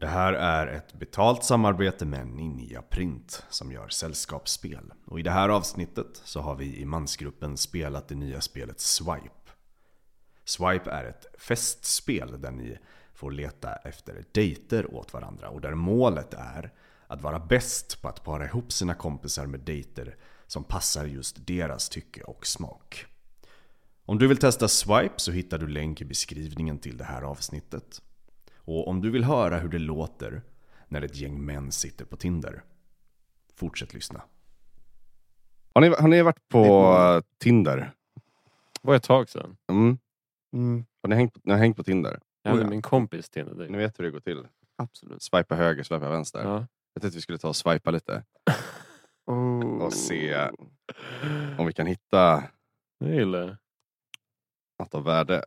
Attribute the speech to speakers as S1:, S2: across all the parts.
S1: här är ett betalt samarbete med Ninja Print som gör sällskapsspel. Och i det här avsnittet så har vi i mansgruppen spelat det nya spelet Swipe. Swipe är ett festspel där ni får leta efter dejter åt varandra och där målet är att vara bäst på att para ihop sina kompisar med dejter som passar just deras tycke och smak. Om du vill testa Swipe så hittar du länk i beskrivningen till det här avsnittet. Och om du vill höra hur det låter när ett gäng män sitter på Tinder, fortsätt lyssna.
S2: Har ni, har ni varit på eh, Tinder?
S3: var ett tag sedan.
S2: Mm. Har ni hängt på, ni har hängt på Tinder?
S3: Jag hade
S2: Oh ja.
S3: min kompis Tinder dejt.
S2: Ni vet hur det går till?
S4: Absolut.
S2: Swipa höger, swipa vänster.
S3: Ja.
S2: Jag tänkte vi skulle ta och swipa lite
S4: Oh.
S3: Mm.
S2: och se om vi kan hitta
S3: Jag gillar det.
S2: något av värde.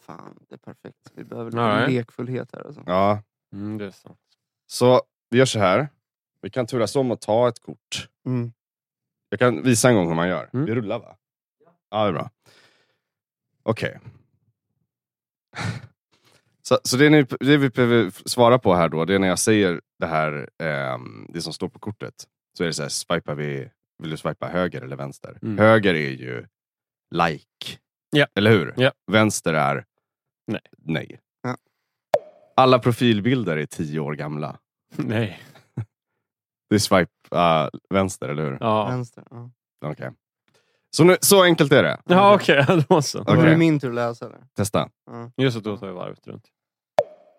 S4: Fan, det är perfekt. Vi behöver lite
S3: Nej.
S4: lekfullhet här alltså.
S2: Ja,
S3: Mm, det är sant.
S2: så vi gör så här. Vi kan turas om att ta ett kort.
S4: Mm.
S2: Jag kan visa en gång hur man gör.
S3: Mm.
S2: Vi rullar va? Ja, det är bra. Okej. Så, så det, ni, det vi behöver svara på här då, det är när jag säger det här, ehm, det som står på kortet. Så är det så här, swipar vi, vill du swipa höger eller vänster?
S3: Mm.
S2: Höger är ju like.
S3: Ja.
S2: Eller hur?
S3: Ja.
S2: Vänster är
S3: Nej.
S2: nej.
S4: Ja.
S2: Alla profilbilder är tio år gamla.
S3: Nej.
S2: Det är swipe ah, vänster, eller hur?
S3: Ja,
S4: Vänster. Ja.
S2: Okej. Så, nu, så enkelt är det.
S3: ja okej. Då så.
S4: Då är
S2: Okej.
S4: det min tur att läsa det.
S2: Testa.
S4: Ja.
S3: Just att då tar vi varvet runt.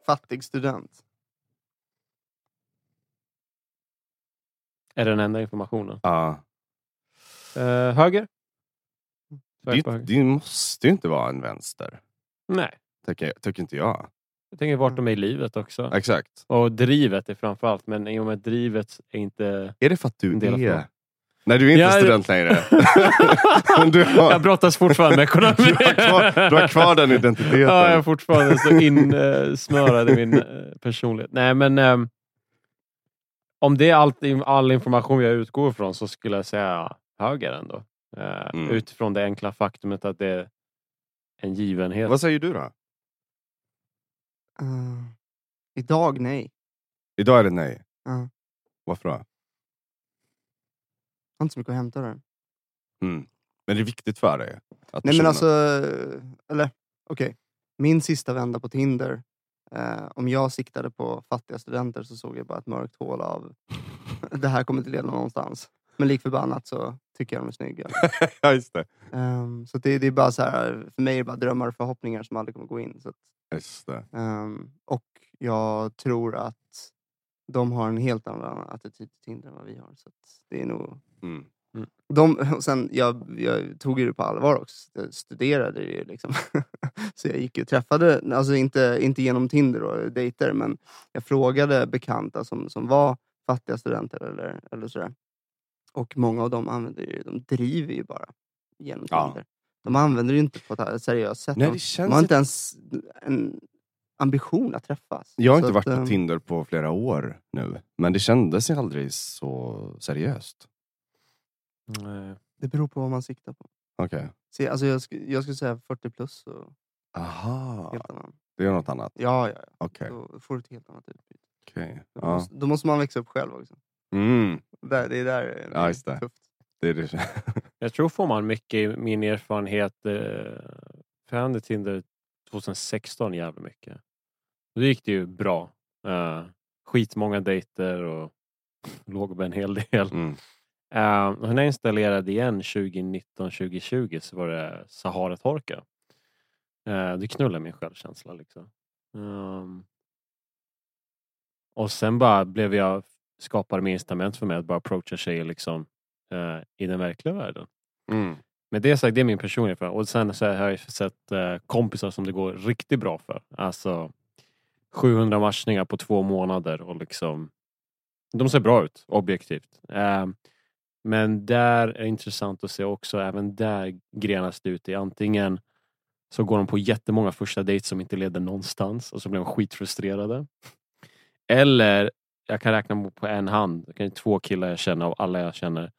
S4: Fattig student.
S3: Är det den enda informationen?
S2: Ja.
S3: Eh, höger?
S2: det,
S3: Swipa höger.
S2: det måste ju inte vara en vänster.
S3: Nej.
S2: Tycker, jag- tycker inte jag.
S3: Jag tänker vart de är i livet också.
S2: Exakt.
S3: Och drivet är framförallt, men i och med att drivet är inte...
S2: Är det för att du
S3: En del av
S2: är...
S3: frågan.
S2: Nej, du är inte
S3: Jag är-
S2: student längre. Men du
S3: Jag
S2: har,
S3: brottas fortfarande med ekonomi.
S2: du, har kvar, du har kvar den identiteten.
S3: Ja, jag är fortfarande så insnörad i min eh, personlighet. Nej, men ehm, om det är allt, all information jag utgår från så skulle jag säga höger ändå. Eh,
S2: Mm.
S3: Utifrån det enkla faktumet att det är en givenhet.
S2: Vad säger du då?
S4: Ah. idag, nej.
S2: Idag är det nej.
S4: Ja.
S2: Varför då?
S4: Jag har inte så mycket att hämta där.
S2: Mm. Men det är viktigt för dig. Att du
S4: Nej men
S2: känner-
S4: alltså, eller okej. Min sista vända på Tinder. Eh, om jag siktade på fattiga studenter så såg jag bara ett mörkt hål av det här kommer inte leda någonstans. Men lik förbannat så tycker jag de är snygga.
S2: ja, just det.
S4: Ehm, så det, det är bara så här, för mig är det bara drömmar och förhoppningar som aldrig kommer gå in. Så att,
S2: Just det.
S4: ehm, och jag tror att de har en helt annan attityd till Tinder än vad vi har. Så att det är nog
S2: Mm.
S4: de, och sen, jag, jag tog ju det på allvar också. Jag studerade ju liksom. Så jag gick och träffade, alltså inte, inte genom Tinder och dejter, men jag frågade bekanta som, som var fattiga studenter eller, eller sådär. Och många av dem använder ju, de driver ju bara genom
S2: Ja.
S4: Tinder. De använder det ju inte på ett seriöst sätt.
S2: Nej,
S4: de,
S2: det
S4: de
S2: känns
S4: har inte ens en ambition att träffas.
S2: Jag har inte
S4: Så
S2: varit
S4: att,
S2: på
S4: eh,
S2: Tinder på flera år nu. Men det kändes ju aldrig så seriöst.
S3: Nej.
S4: Det beror på vad man siktar på.
S2: Okej.
S4: Se, alltså jag, sk- jag skulle säga 40 plus, så
S2: Aha.
S4: helt annan.
S2: Det är något annat.
S4: Ja, ja,
S2: Okej.
S4: ja. Då får du ett helt annat utbyte.
S2: Okej.
S4: Då,
S2: Ja.
S4: måste, då måste man växa upp själv också.
S2: Mm.
S4: Där, det är där det
S2: Ja,
S4: är
S2: just det.
S4: tufft.
S2: Det är det.
S3: Jag tror får man mycket i min erfarenhet. Eh, förändrade Tinder 2016 jävligt mycket. Och det gick det ju bra. Eh, skitmånga dejter och låg med en hel del.
S2: Mm.
S3: Eh, och när jag installerade igen 2019-2020 så var det Saharatorka. Eh, det knullade min självkänsla. Liksom. Ehm, och sen bara blev jag, skapade med incitament för mig att bara approacha tjejer liksom, eh, i den verkliga världen.
S2: Mm.
S3: Med det sagt, det är min personliga erfarenhet. Och sen så har jag sett eh, kompisar som det går riktigt bra för. Alltså 700 matchningar på två månader och liksom de ser bra ut, objektivt. Eh, men där är det intressant att se också, även där grenas det ut i antingen så går de på jättemånga första dejter som inte leder någonstans och så blir de skitfrustrerade. Eller, jag kan räkna på en hand, det kan ju två killar jag känner av alla jag känner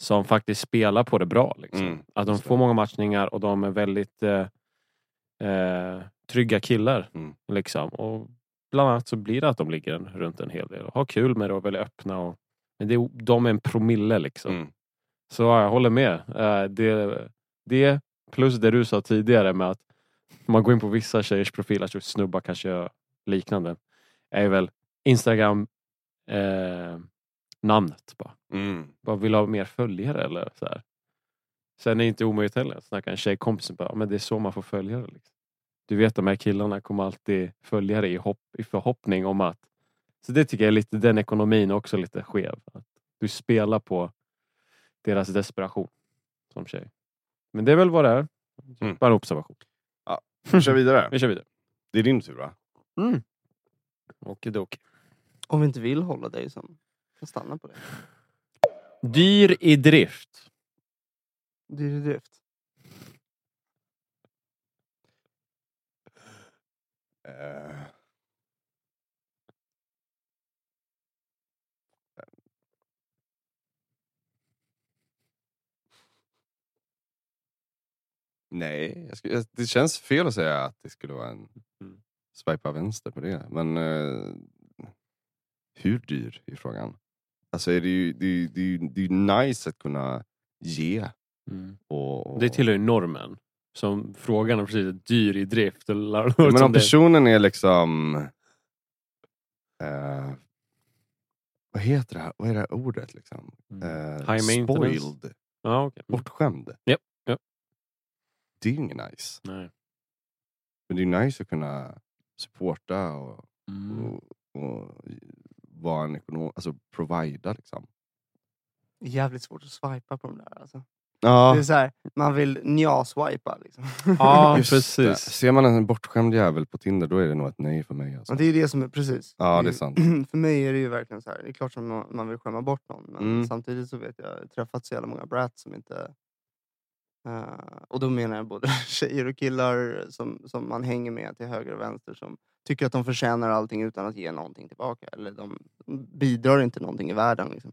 S3: som faktiskt spelar på det bra. Liksom.
S2: Mm,
S3: att de
S2: just det.
S3: får många matchningar och de är väldigt eh, eh, trygga killar.
S2: Mm.
S3: Liksom. Och bland annat så blir det att de ligger en- runt en hel del och har kul med det och är väldigt öppna. Och, men det, är- de är en promille liksom.
S2: Mm.
S3: Så ja, jag håller med. Eh, Det, det plus det du sa tidigare med att man går in på vissa tjejers profiler, jag tror snubbar kanske gör liknande, är väl Instagram eh, namnet bara.
S2: Mm.
S3: bara. Vill ha mer följare eller så här. Sen är det inte omöjligt heller att snacka en tjejkompis och bara, "Ja, men det är så man får följare. Liksom. Du vet de här killarna kommer alltid följa dig i, hopp, i förhoppning om att... Så det tycker jag är lite, den ekonomin är också lite skev. Att du spelar på deras desperation som tjej. Men det är väl vad det är.
S2: Mm.
S3: Bara en observation.
S2: Vi kör vidare.
S3: Vi kör vidare.
S2: Det är din tur va?
S3: Mm. Okidok.
S4: Om vi inte vill hålla dig som kan stanna på det.
S3: Dyr i drift.
S4: Dyr i drift.
S2: Eh. Nej, jag skulle, jag- det känns fel att säga att det skulle vara en
S3: Mm.
S2: swipa vänster på det. Men eh, hur dyr är frågan. Alltså är det, ju, det, är ju- det, är ju- det är ju nice att kunna ge. Och, och...
S3: Det tillhör ju normen. Som frågan om precis dyr i drift. Eller något
S2: Men om
S3: sånt där.
S2: personen är liksom... Eh, vad heter det här? Vad är det här ordet? Liksom? Eh,
S3: High maintenance.
S2: spoiled.
S3: Mm. Ja, okej.
S2: Bortskämd.
S3: Japp, japp.
S2: Det är ju inget nice.
S3: Nej.
S2: Men det är ju nice att kunna supporta och,
S3: Mm.
S2: och, och vara en ekonom. Alltså provida liksom.
S4: Det är jävligt svårt att swipa på de där alltså.
S2: Ja,
S4: Det är så här, man vill nja-swipa liksom.
S3: Ja,
S2: just det.
S3: precis.
S2: Ser man en bortskämd jävel på Tinder då är det nog ett nej för mig. Alltså.
S4: Och det är ju det som är precis.
S2: Ja, det är sant.
S4: För mig är det ju verkligen så här. Det är klart som man- man vill skämma bort någon. Men
S2: Mm.
S4: samtidigt så vet jag, jag har träffat så jävla många brats som inte... eh, och då menar jag både tjejer och killar som, som man hänger med till höger och vänster som tycker att de förtjänar allting utan att ge någonting tillbaka. Eller de bidrar inte någonting i världen. Liksom.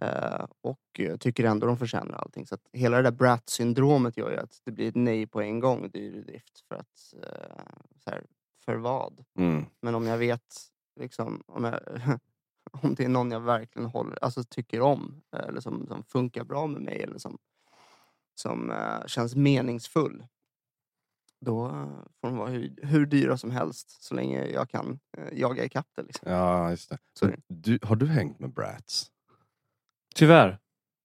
S4: Eh, och eh, tycker ändå de förtjänar allting. Så att hela det där brat-syndromet gör ju att det blir ett nej på en gång, dyr i drift. För att, eh, så här, för vad?
S2: Mm.
S4: Men om jag vet, liksom, om, jag, om det är någon jag verkligen håller, alltså tycker om, eh, eller som, som funkar bra med mig, eller som, som eh, känns meningsfull, då eh, får de vara hur, hur dyra som helst, så länge jag kan eh, jaga ikapp det. Liksom.
S2: Ja, just det.
S4: Så är
S3: Mm.
S4: det.
S2: Du, har du hängt med brats?
S3: Tyvärr.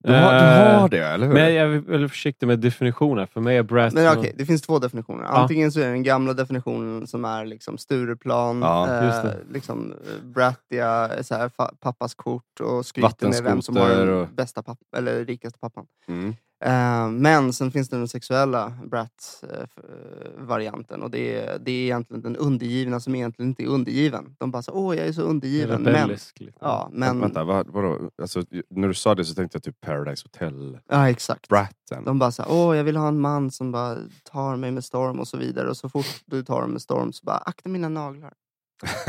S2: Du har, du
S3: Eh,
S2: har det, eller hur?
S3: Men jag är väldigt försiktig med definitioner. För mig är brat...
S4: Men okej, det finns två definitioner. Antingen så är det den gamla definitionen som är liksom Stureplan,
S2: Ja,
S3: just
S4: eh,
S3: det.
S4: liksom eh, brattiga, så här, fa- pappas kort och skryter med vem som har
S2: Vattenskoter
S4: den
S2: och-
S4: bästa pappa, eller rikaste pappan.
S2: Mm.
S4: Eh, men sen finns det den sexuella eh, brat-varianten och det är, det är egentligen den undergivna som egentligen inte är undergiven. De bara så, åh jag är så undergiven. Men,
S3: Rebellisk. liksom. lite.
S4: ja, men,
S2: Vänta, vad, vadå? Alltså, när du sa det så tänkte jag typ Paradise Hotel.
S4: ja, exakt.
S2: Bratten.
S4: De bara så här, åh jag vill ha en man som bara tar mig med storm och så vidare. Och så fort du tar dem med storm så bara, akta mina naglar.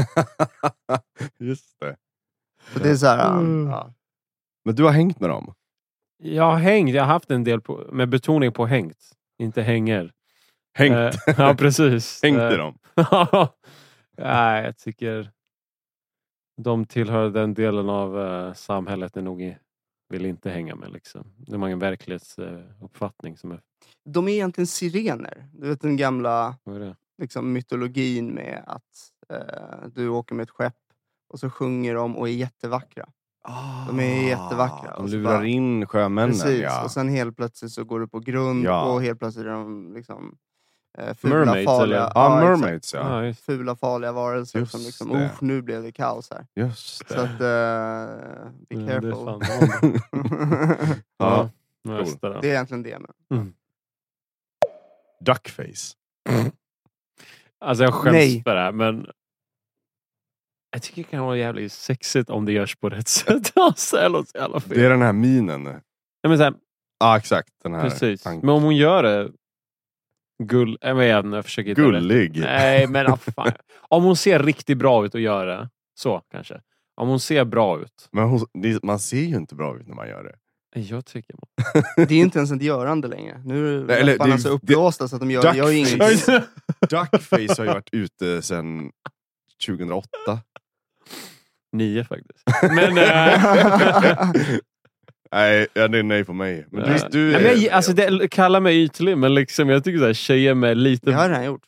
S2: Just det.
S4: Så det är så här, ja,
S3: Mm.
S4: ja.
S2: Men du har hängt med dem?
S3: Jag har hängt. Jag har haft en del på, med betoning på hängt. Inte hänger.
S2: Hängt,
S3: Eh, ja, precis.
S2: hängt
S3: Eh,
S2: i dem?
S3: Nej, jag tycker de tillhör den delen av eh, samhället det nog i- vill inte hänga med. Liksom. De har en verklighetsuppfattning som är...
S4: De är egentligen sirener. Du vet den gamla
S3: Vad är det?
S4: liksom, mytologin med att eh, du åker med ett skepp och så sjunger de och är jättevackra. de är jättevackra.
S2: Ah, De
S4: Och så
S2: lurar
S4: bara-
S2: in sjömännen.
S4: Precis,
S2: ja.
S4: och sen helt plötsligt så går du på grund
S2: Ja.
S4: och helt plötsligt är de liksom, eh, fula,
S3: Mermaids,
S4: farliga,
S3: eller?
S2: ja,
S4: exakt.
S2: Ah, mermaids ja.
S3: Ja, just.
S4: fula farliga varelser
S2: Just
S4: som liksom,
S2: det.
S4: "Uff, nu blev det kaos här.
S2: Just
S4: Så
S2: det.
S4: att, eh, be
S3: Ja, Mm, det är
S4: careful.
S3: fan de.
S2: ja.
S3: Ja,
S2: Cool.
S3: just det.
S4: det är egentligen det. Men.
S2: Duckface.
S3: Alltså jag skäms
S4: Nej.
S3: för det här men jag tycker det kan vara jävligt sexigt om det görs på rätt sätt. alltså, det låter så jävla fel.
S2: Det är den här minen.
S3: Nej, men så här,
S2: Ja, exakt. Den här.
S3: precis.
S2: tanken.
S3: Men om hon gör det gull... Jag, vet, inte, jag försöker hitta rätt.
S2: Gullig.
S3: Nej, men ah, fan. Om hon ser riktigt bra ut och gör det. Så kanske. Om hon ser bra ut.
S2: Men hon, det- man ser ju inte bra ut när man gör det.
S3: Jag tycker...
S4: Det är inte ens ett görande längre. Nu
S2: Nej,
S4: är
S2: eller
S4: läpparna
S2: det-
S4: så uppblåsta så att de gör,
S2: Duck
S4: gör ju
S2: face.
S4: ingenting.
S2: Duckface har ju varit ute sen 2008.
S3: Nio faktiskt. Men, eh,
S2: nej, ja, det är nej på mig. Men du,
S3: Nej.
S2: du
S3: Nej,
S2: är,
S3: men jag, alltså, det, kalla mig ytlig, men liksom, jag tycker så här, tjejer med lite...
S4: Det har jag redan gjort.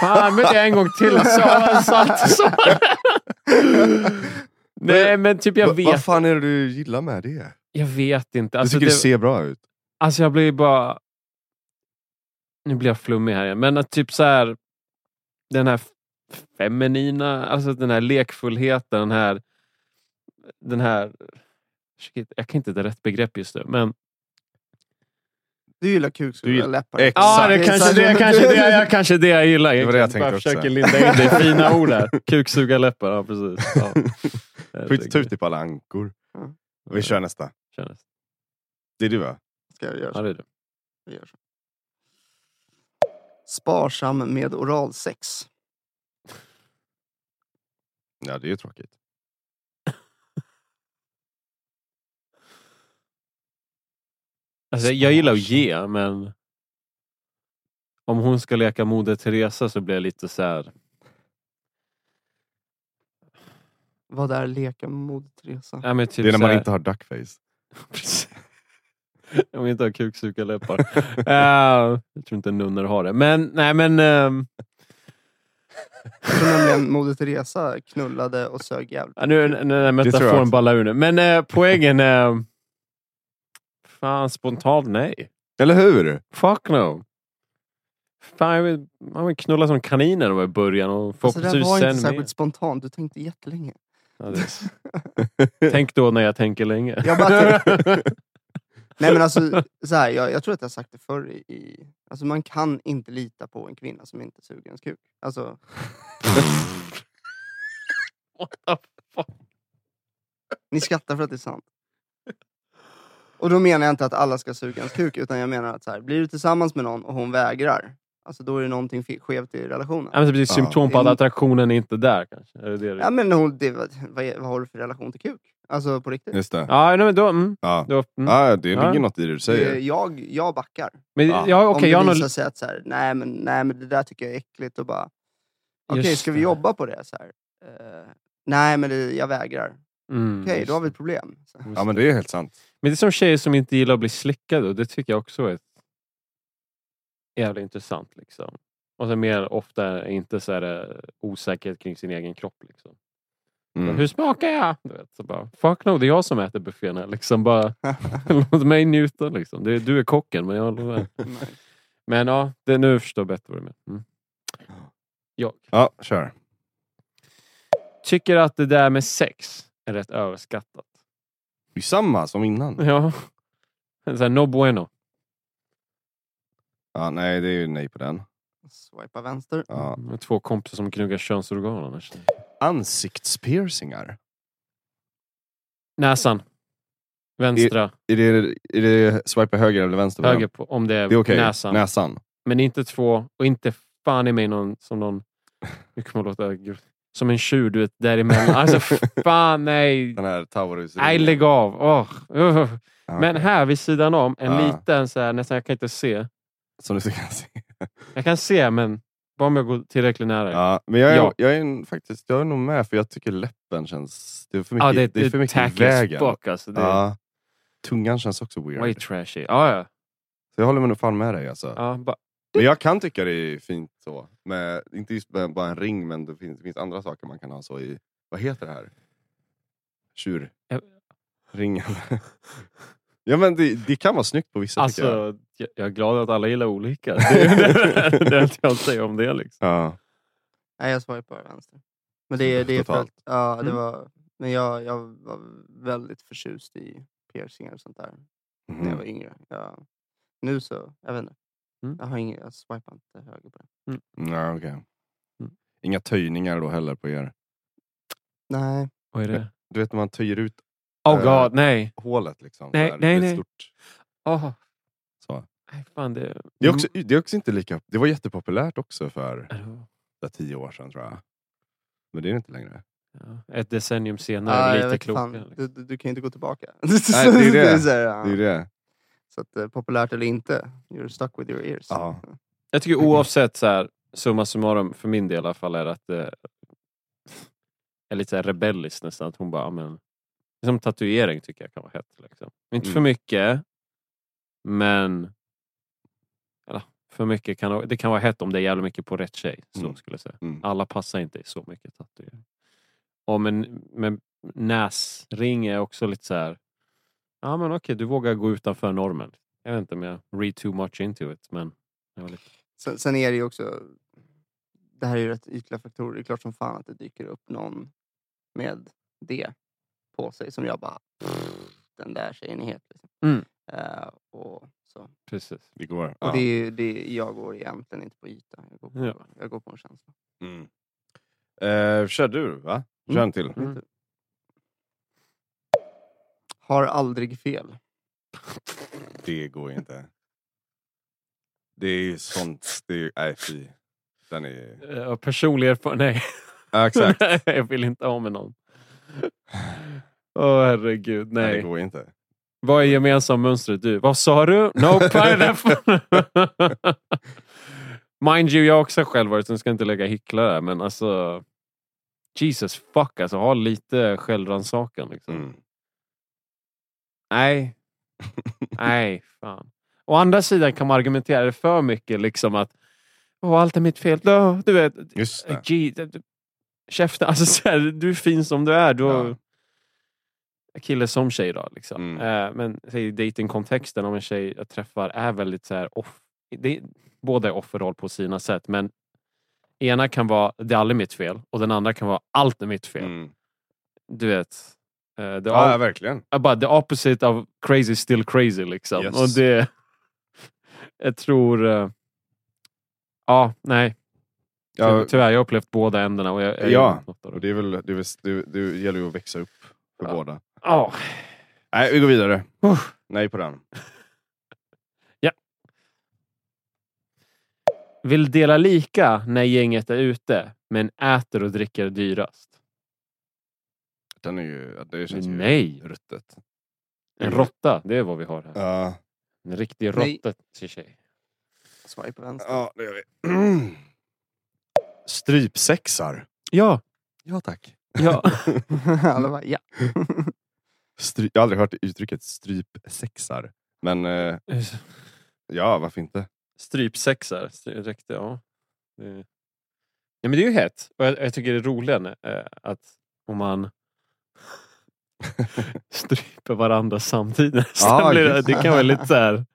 S3: Fan, men det är en gång till. Så, så, så. Nej, men typ jag
S2: Va- Vad
S3: vet,
S2: fan är det du gillar med det?
S3: jag vet inte.
S2: Du
S3: Alltså,
S2: tycker det...
S3: det,
S2: ser bra ut.
S3: alltså jag blir bara... Nu blir jag flummig här igen, men att typ så här... Den här feminina, alltså den här lekfullheten, den här... Den här... Shit, jag kan inte hitta rätt begrepp just nu, men...
S4: Du gillar kuksår
S2: Du
S4: och
S2: gillar-
S4: läppar.
S2: Exakt.
S3: Ja, det är kanske det, kanske det, jag, kanske det jag gillar.
S2: Det var det jag
S3: egentligen. Bara
S2: tänkte också.
S3: försöker linda in det i fina ord här. Kuksugarläppar, ja precis. Ja.
S2: Skit ta ut dig på alla ankor.
S4: Mm.
S2: Vi kör nästa.
S3: Känns.
S2: Det är du va?
S4: Ska jag göra
S3: Ja,
S4: så.
S3: det är det.
S4: Jag gör så. Sparsam med oralsex.
S2: Ja, det är ju tråkigt.
S3: Typ Alltså, jag gillar att ge, men om hon ska leka Moder Teresa så blir jag lite så här.
S4: Vad är leka med Moder Teresa?
S3: Ja, men typ
S2: det är när man
S3: så här-
S2: inte har duckface.
S3: Precis. Om vi inte har kuksugarläppar. Eh, jag tror inte nunnor har det. Men nej, men... ehm,
S4: Jag tror Alltså, nämligen Moder Teresa knullade och sög jävligt.
S3: Ja, nu den här
S2: jag
S3: metaforen
S2: också.
S3: ballar ur nu. Men eh, poängen... Eh, fan, spontant nej.
S2: Eller hur?
S3: Fuck no. Fan, jag vill, man vill knulla som kaniner då i början och
S4: Alltså, det där
S3: förhoppningsvis
S4: var inte
S3: sen mer.
S4: särskilt spontant. Du tänkte jättelänge.
S3: Ja, det är- Tänk då när jag tänker länge.
S4: Jag bara Nej men alltså, så här, jag, jag tror att jag har sagt det förr i, i... Alltså man kan inte lita på en kvinna som inte suger ens kuk. Alltså,
S3: What the fuck?
S4: ni skrattar för att det är sant. Och då menar jag inte att alla ska suga ens kuk, utan jag menar att så här, blir du tillsammans med någon och hon vägrar, alltså då är det någonting fe- skevt i relationen.
S3: Ja, men typ, det är ett
S2: Ja.
S3: symptom på att attraktionen är inte där kanske. Är det det? du-
S4: Ja men hon, det, vad, vad är- vad har du för relation till kuk? Alltså på riktigt.
S2: Just det.
S3: Ja, nej, men då... Mm,
S2: Ja.
S3: då mm.
S2: Ja, det ligger
S3: Ja.
S2: något i det du
S4: Eh,
S2: säger.
S4: Jag, jag backar.
S3: Men,
S2: Ja.
S3: ja,
S4: Om det
S3: okej, jag har nog...
S4: visar sig att så här, nej, men, nej men det där tycker jag är äckligt och bara, okej
S3: Just
S4: ska vi
S3: det.
S4: jobba på det? Så här, eh, nej men det, jag vägrar. Okej,
S3: Mm, just
S4: då har vi ett problem. Så.
S3: det, just
S2: Ja,
S3: det.
S2: men det är helt sant.
S3: Men det är som tjejer som inte gillar att bli slickade och det tycker jag också är jävligt intressant. Liksom. Och sen mer ofta inte så här, eh, osäkerhet kring sin egen kropp. Liksom.
S2: Mm.
S3: Hur smakar jag? Du vet, så bara, Fuck no, det är jag som äter buffén här. Liksom bara, låt mig njuta. Liksom. Det är, du är kocken, men jag med.
S4: Nej.
S3: Men ja, det, nu förstår jag bättre vad du menar. Mm. Jag
S2: Ja, kör.
S3: tycker att det där med sex är rätt överskattat.
S2: Det är samma som innan.
S3: Ja. Så här, no bueno.
S2: Ja, nej, det är ju nej på den.
S4: Swipa vänster.
S2: Ja.
S3: Med Två kompisar som gnuggar könsorgan annars.
S2: Ansiktspiercingar.
S3: Näsan. Vänstra.
S2: Är det, är det swipa höger eller vänster? på den?
S3: höger på, om det är,
S2: Det är okej.
S3: Eh, näsan.
S2: Näsan.
S3: Men inte två. Och inte fan i mig någon som någon... Nu kommer jag låta... gud, Som en tjur, du vet, däremellan. Alltså fan nej.
S2: Den här Taurus.
S3: Nej, lägg av. Åh, ugh.
S2: Ja,
S3: Men
S2: okej.
S3: här vid sidan om, en
S2: Ja.
S3: liten så här, nästan, jag kan inte se.
S2: Som du kan se.
S3: Jag kan se, men bara om jag går tillräckligt nära. Ja,
S2: Ja, men jag är,
S3: Ja.
S2: jag är en, faktiskt jag är nog med, för jag tycker läppen känns... Det är för mycket,
S3: ah, det,
S2: det är för mycket i vägen.
S3: Fuck, alltså, det är
S2: Ja. Tungan känns också weird.
S3: way trashy. Ja, ja.
S2: Så jag håller mig nog fan med dig. Alltså.
S3: ja bara,
S2: Men jag kan tycka det är fint så. Med, inte just med bara en ring, men det finns, det finns andra saker man kan ha så i... Vad heter det här? Tjur.
S3: Eh.
S2: Ringen. ja, men det, det kan vara snyggt på vissa tycker jag.
S3: alltså, jag, jag är glad att alla gillar olika. Det är det, är allt jag säger om det. Liksom.
S2: Ja.
S4: Nej, jag swipar vänster. Men det, är- det är för att,
S2: Totalt.
S4: ja, det
S3: Mm.
S4: var, men jag, jag var väldigt förtjust i piercingar och sånt där när jag
S2: Mhm.
S4: var yngre. Jag, nu så, jag vet inte.
S3: Mm.
S4: Jag, har ingen, jag swipar inte höger på det.
S2: Ja, okej.
S3: Mm.
S2: Inga töjningar då heller på er?
S4: Nej.
S3: Vad är det?
S2: Du vet när man töjer ut
S3: Oh
S2: Eh,
S3: god, nej.
S2: hålet liksom.
S3: Nej,
S2: så här,
S3: nej,
S2: det är
S3: nej.
S2: Stort,
S3: Oh.
S2: så.
S3: Nej, fan det...
S2: Det, är också, det är också inte lika... Det var jättepopulärt också för
S3: Ja,
S2: där, tio år sedan tror jag. Men det är det inte längre.
S3: Ett decennium senare,
S4: Ah, jag
S3: lite
S4: vet fan.
S3: klokare. Liksom.
S4: Du, du, du kan ju inte gå tillbaka.
S2: är det.
S4: så här, ja.
S2: Det är det.
S4: Så att, eh, populärt eller inte, you're stuck with your ears.
S2: Ja.
S3: Jag tycker oavsett, så här, summa summarum, för min del i alla fall, är att eh, är lite så här rebellisk nästan. Att hon bara, "Ja, men, liksom tatuering tycker jag kan vara hett. Liksom. Inte för
S2: Mm.
S3: mycket, men eller, för mycket kan, det kan vara hett om det är jävligt mycket på rätt tjej. Så
S2: Mm.
S3: skulle jag säga.
S2: Mm.
S3: Alla passar inte i så mycket tatuering. Och men, men näsring är också lite så här. Ja men okej, du vågar gå utanför normen. Jag vet inte om jag read too much into it. Men det var lite...
S4: Sen, sen är det ju också... Det här är ju rätt ytliga faktorer. Det är klart som fan att det dyker upp någon med det på sig som jag bara... "Pff, Den där tjejen är het. Liksom.
S3: Mm.
S4: Eh, och så.
S3: Precis.
S2: Vi går.
S4: Och det är ju, det, jag går egentligen inte på yta. Jag går på,
S3: Ja.
S4: jag går på en känsla.
S2: Mm. Eh, kör du, va? Kör en till.
S3: Mm.
S4: Har aldrig fel.
S2: Det går inte. Det är ju sånt. Det är, nej, fy. Den är...
S3: Eh, personlig erfarenhet.
S2: Ja, exakt.
S3: Nej. jag vill inte ha med någon. Åh herregud,
S2: Nej. Det
S3: nej.
S2: går inte.
S3: Vad är gemensammönstret du? Vad sa du? No pineapple! Mind you, jag har också själv varit, så jag ska inte lägga hycklar där, men alltså... Jesus fuck alltså, ha lite självrannsakan liksom.
S2: Mm.
S3: Nej. Nej, fan. Å andra sidan kan man argumentera det för mycket liksom att Åh, allt är mitt fel. Då, Du vet,
S2: Just det.
S3: Gee, Eh, d- d- Käften, alltså så här, du är fin som du är. Du har Kille som tjej då. Liksom.
S2: Mm.
S3: Eh, men säg i datingkontexten om en tjej jag träffar är väldigt så här off. Det, båda är offerroll på sina sätt men ena kan vara det är aldrig mitt fel och den andra kan vara allt är mitt fel.
S2: Mm.
S3: Du vet. eh, the,
S2: Ja, ja,
S3: op-
S2: verkligen.
S3: jag bara, the opposite of crazy is still crazy liksom.
S2: Yes.
S3: Och det... Jag tror... eh, ja, nej.
S2: Ja,
S3: Tyvärr, jag har upplevt båda ändarna. Och jag, jag
S2: Ja,
S3: något av
S2: och
S3: det.
S2: det, är väl, det, är väl, det, det gäller ju att växa upp för
S3: Ja.
S2: båda.
S3: Ja.
S2: Nej, vi går vidare.
S3: Uh.
S2: Nej på den.
S3: Vill dela lika när gänget är ute, men äter och dricker dyrast.
S2: Den är ju... ja, Det känns ju
S3: Nej.
S2: ruttet.
S3: En råtta, det är vad vi har här.
S2: Ja,
S3: En riktig
S4: Nej.
S3: råtta till tjej.
S4: Swipe vänster.
S2: ja det gör vi. Strypsexar.
S3: Ja,
S2: Ja, tack.
S3: ja.
S4: Alla bara, ja.
S2: Stry, jag har aldrig hört det uttrycket strypsexar. Men eh, ja, varför inte?
S3: Strypsexar. Stry- Direkt, ja. Det... Nej, men det är ju hett. Och jag, jag tycker det är roligare eh, att om man stryper varandra samtidigt.
S2: Ja,
S3: Sen blir det,
S2: just
S3: det kan vara lite så här.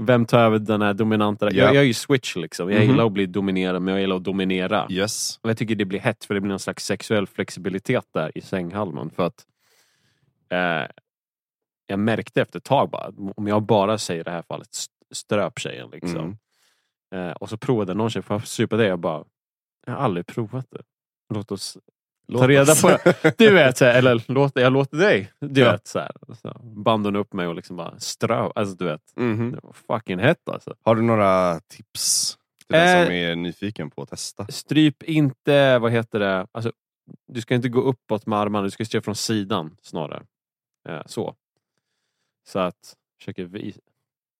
S3: Vem tar över den här dominanta?
S2: Ja.
S3: Jag, jag är ju switch liksom. Jag
S2: Mhm.
S3: gillar att bli dominerad, men jag gillar att dominera.
S2: Yes.
S3: Och jag tycker det blir hett för det blir någon slags sexuell flexibilitet där i sänghalmen. För att eh, jag märkte efter ett tag bara, om jag bara säger i det här fallet st- ströp tjejen liksom. Eh, och så provade någon tjej, får jag supa det? Jag bara, jag har aldrig provat det. Låt oss ta reda på det. Du vet, så här, eller låt, jag låter dig. Du
S2: Ja.
S3: vet, så här. Så band hon upp mig och liksom bara strö. Alltså du vet,
S2: Mhm.
S3: det var fucking hett alltså.
S2: Har du några tips till den
S3: Eh.
S2: som är nyfiken på att testa?
S3: Stryp inte, vad heter det, alltså, du ska inte gå uppåt med armarna, du ska stå från sidan snarare. Eh, så. Så att, jag försöker vi,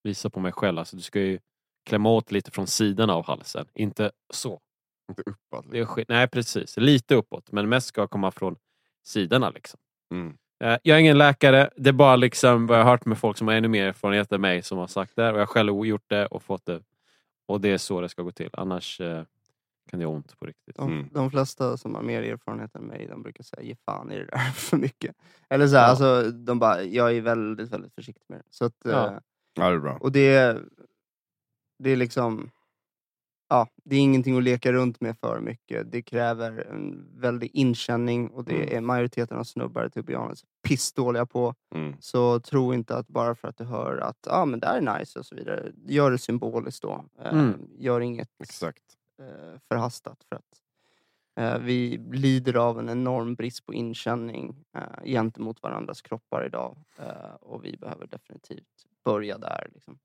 S3: visa på mig själv, alltså, du ska ju klämma åt lite från sidan av halsen, inte så.
S2: Inte uppåt.
S3: Det är skit. Nej precis, lite uppåt, men mest ska komma från sidorna liksom.
S2: Mm.
S3: Eh, Jag är ingen läkare, det är bara liksom vad jag har hört med folk som har ännu mer erfarenhet än mig som har sagt det här. och jag har själv gjort det och fått det. Och det är så det ska gå till, annars eh, kan det göra ont på riktigt.
S4: De,
S2: Mm.
S4: de flesta som har mer erfarenhet än mig, de brukar säga ge fan i det där för mycket. Eller så här,
S3: Ja.
S4: alltså, de bara, jag är väldigt, väldigt försiktig med det. Så att,
S3: Ja.
S4: eh,
S2: Ja, det är bra.
S4: Och det, det är liksom... Ja, det är ingenting att leka runt med för mycket. Det kräver en väldig inkänning och det
S2: Mm.
S4: är majoriteten av snubbar, to be honest, pissdåliga på.
S2: Mm.
S4: Så tro inte att bara för att du hör att ja ah, men det här är nice och så vidare, gör det symboliskt då. Eh,
S3: Mm.
S4: Gör inget
S2: Exakt.
S4: eh, förhastat. För att, eh, vi lider av en enorm brist på inkänning eh, gentemot varandras kroppar idag. Eh, och vi behöver definitivt börja där. Liksom.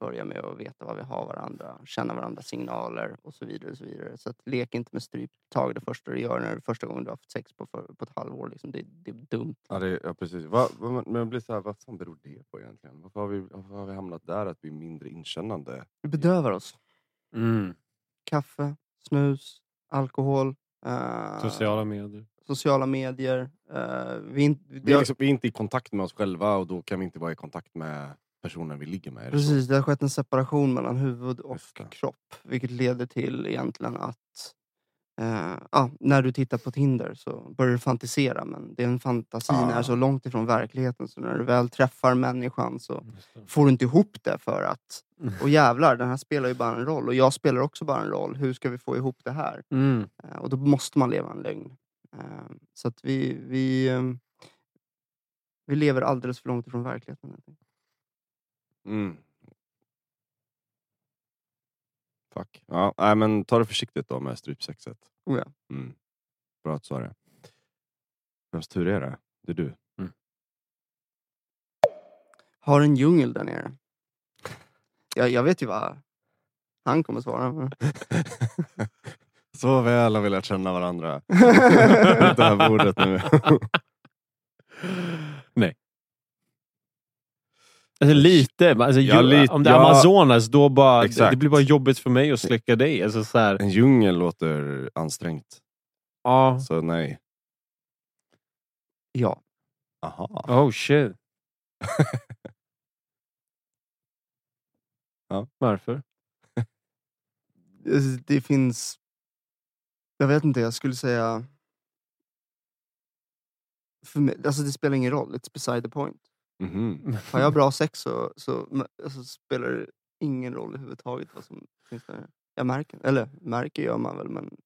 S4: Börja med att veta vad vi har varandra, känna varandras signaler och så vidare. Och så vidare. så att, lek inte med stryptag det första du gör när det första gången du har haft sex på, för, på ett halvår. Liksom. Det, det är dumt.
S2: Ja, det, ja precis. Va, va, men- men jag blir så här, vad fan beror det på egentligen? Varför har vi, varför har vi hamnat där att vi är mindre inkännande?
S4: Vi bedövar oss.
S3: Mm.
S4: Kaffe, snus, alkohol, Eh,
S3: Sociala medier.
S4: sociala medier. Eh, vi, är inte-
S2: Vi
S4: det
S2: är,
S4: har,
S2: liksom, vi är inte i kontakt med oss själva och då kan vi inte vara i kontakt med personen vi ligger med. liksom. är det så?
S4: precis, det har skett en separation mellan huvud och
S2: Just det.
S4: kropp. Vilket leder till egentligen att eh, ja, när du tittar på Tinder så börjar du fantisera. Men den fantasin
S2: Ah.
S4: är så långt ifrån verkligheten så när du väl träffar människan så
S2: Mm.
S4: får du inte ihop det för att
S3: Mm.
S4: och jävlar, den här spelar ju bara en roll och jag spelar också bara en roll. Hur ska vi få ihop det här?
S3: Mm.
S4: Eh, Och då måste man leva en lögn. Eh, Så att vi, vi, eh, vi lever alldeles för långt ifrån verkligheten. helt enkelt.
S2: Mm. Fuck. Ja, nej, men ta det försiktigt då med strypsexet.
S4: Oh ja.
S2: Mm. Bra att du sa det. Vems tur är det? Det är du.
S4: Har en djungel där nere. Jag, jag vet ju vad han kommer svara. men-
S2: Så väl har vi lärt känna varandra. det här bordet nu.
S3: Nej. Alltså lite. men Alltså, ju,
S2: Ja, lite,
S3: om det är
S2: ja.
S3: Amazonas, då bara, det,
S2: Exakt.
S3: det blir bara jobbigt för mig att släcka dig. Alltså, så här,
S2: en djungel låter ansträngt.
S3: ja.
S2: Så nej.
S4: Ja.
S2: Aha.
S3: Oh shit.
S2: Ja.
S3: Varför?
S4: Alltså, Det finns... Jag vet inte, jag skulle säga... För mig, alltså det spelar ingen roll, it's beside the point.
S2: Mhm.
S4: Har jag bra sex så, så men, alltså, spelar det ingen roll överhuvudtaget vad som finns där. Jag märker, eller märker gör man väl, men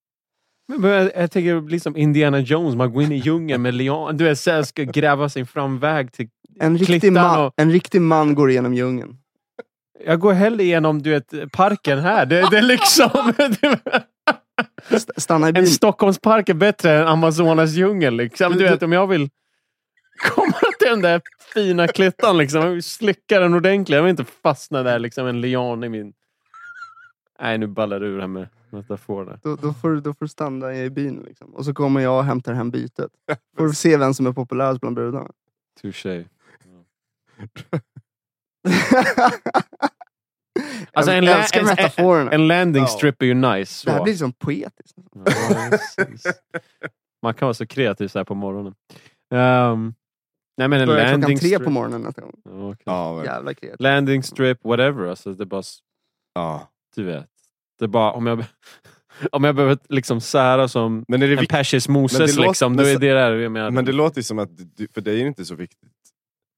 S3: Men, men jag, jag tänker liksom Indiana Jones, man går in i djungeln med lian. Du är så här, ska gräva sin framväg till...
S4: En riktig,
S3: Klittan
S4: man,
S3: och-
S4: en riktig man går igenom djungeln.
S3: Jag går hellre igenom du vet, parken här. Det, det är liksom...
S4: St- Stanna i
S3: en
S4: bilen.
S3: Stockholmspark är bättre än Amazonas djungel. Liksom. Du vet, om jag vill komma till den där fina klittan, liksom. jag vill slicka den ordentligt. Jag vill inte fastna där, liksom en lian i min... Nej, nu ballar det ur det här med metaforerna.
S4: Då, då, får, du- då får du stanna i byn. Liksom. Och så kommer jag och hämtar hem bytet. Får du se vem som är populärast bland brudarna.
S3: Touché. Alltså,
S4: jag
S3: en lä-
S4: älskar
S3: en-
S4: metaforerna.
S3: En landing
S2: Ja.
S3: strip är ju nice. Så.
S4: det här blir liksom poetiskt.
S3: Ja, precis. Man kan vara så kreativ så här på morgonen. Ehm, nej, men en
S4: Börjar klockan
S3: landing
S4: tre
S3: strip.
S4: på morgonen nästa gång.
S3: Ja, okej.
S2: Ja, men,
S4: Jävla kreativt.
S3: Landing strip, whatever. Alltså, det är bara
S2: ja.
S3: Du vet. Det är bara om jag, om jag behöver liksom sära som
S2: Men är det
S3: en
S2: viktigt?
S3: Persis
S2: Men det
S3: Moses
S2: låter-
S3: liksom.
S2: men
S3: Då är
S2: så-
S3: det där jag menar.
S2: Men det låter ju som att du, för dig är det inte så viktigt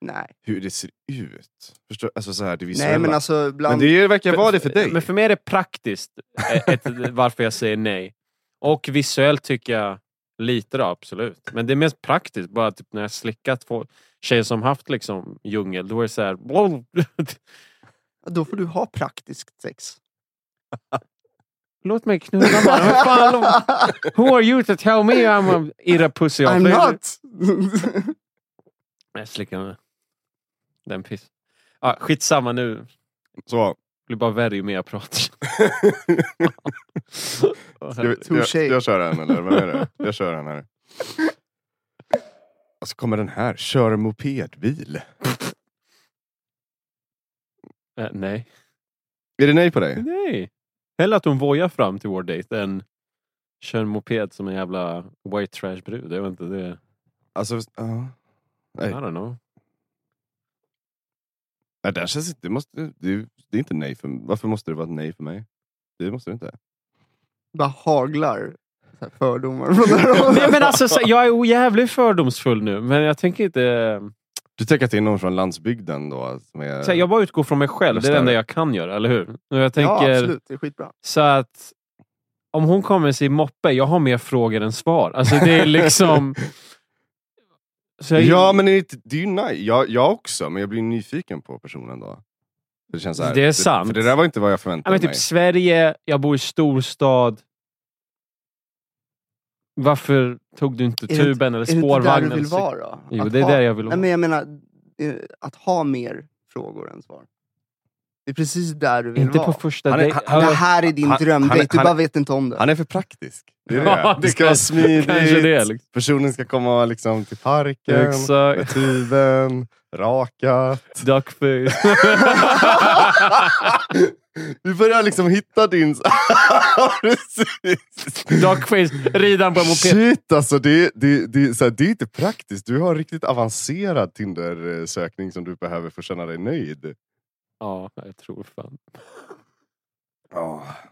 S4: Nej.
S2: hur det ser ut. Förstår Alltså så här, det visuella.
S4: Nej men alltså, bland...
S2: men det verkar vara det för dig.
S3: Men för mig är det praktiskt eh, ett, varför jag säger nej. Och visuellt tycker jag lite då, absolut. Men det är mest praktiskt. Bara typ när jag slickat på tjejer som haft liksom djungel, då är det så här...
S4: Då får du ha praktiskt sex.
S3: Låt mig knulla bara. Vad fan, Who are you to tell me I'm a irra pussy?
S4: I'm not!
S3: Jag slickar med den piss. Ah, skitsamma nu.
S2: Så,
S3: blir bara värre ju mer jag pratar.
S2: ska vi, jag,
S4: Touché.
S2: ska jag kör den eller? Vad är det? Jag kör den här. Och så kommer den här. Kör mopedbil.
S3: Eh, nej.
S2: Är det nej på
S4: Mm.
S2: dig?
S3: nej. Hellre att hon vojar fram till vår dejt än kör en moped som en jävla white trash brud. Jag vet inte, det...
S2: Alltså, ja.
S3: I
S2: Nej.
S3: don't know.
S2: Nej, där känns inte, det, måste, det, är- det är inte nej för Varför måste det vara ett nej för mig? Det måste det inte.
S4: Bara haglar så här fördomar från det här
S3: Men,
S4: hållet.
S3: men alltså, så- jag är ojävligt fördomsfull nu, men jag tänker inte...
S2: Du tänker att det är någon från landsbygden då? Som är,
S3: Så här, jag bara utgår från mig själv. Det är det enda
S2: Förstår.
S3: jag kan göra, eller hur? Och jag
S4: Ja,
S3: tänker,
S4: absolut. Det är skitbra.
S3: så att om hon kommer med sin moppe, jag har mer frågor än svar. Alltså det är liksom... Så jag-
S2: Ja, men det är, inte- det är ju nej. Jag, jag också, men jag blir nyfiken på personen då. Det, känns så här,
S3: Det är sant.
S2: För det där var inte vad jag
S3: Ja,
S2: förväntade
S3: men typ
S2: mig.
S3: Sverige, jag bor i storstad. Varför tog du inte
S4: det inte-
S3: tuben eller
S4: Är det inte där du
S3: spårvagnen?
S4: vill
S3: eller cykeln?
S4: vara då?
S3: Jo,
S4: Att
S3: det är
S4: ha-
S3: där jag vill
S4: Nej,
S3: vara.
S4: men jag menar, eh, att ha mer frågor än svar. Det är precis där du vill
S3: Inte på
S4: vara.
S3: första
S2: Han är-
S3: dejt.
S2: han-
S4: det här är din
S2: han-
S4: drömdejt,
S2: han-
S4: du
S2: han-
S4: bara vet inte om det.
S2: Han är för praktisk. Det, är
S3: Ja,
S2: det. det
S3: det
S2: ska vara
S3: kanske-
S2: smidigt.
S3: kanske det, liksom.
S2: Personen ska komma liksom, till parken, med
S3: Exakt.
S2: tuben, rakat.
S3: Duckface.
S2: Du börjar liksom hitta din... Precis.
S3: Duckface. Ridan på en moped.
S2: Shit alltså, det, det, det, så här, det är inte praktiskt. Du har riktigt avancerad Tinder-sökning som du behöver för att känna dig nöjd.
S3: Ja, jag tror fan.
S2: Ja.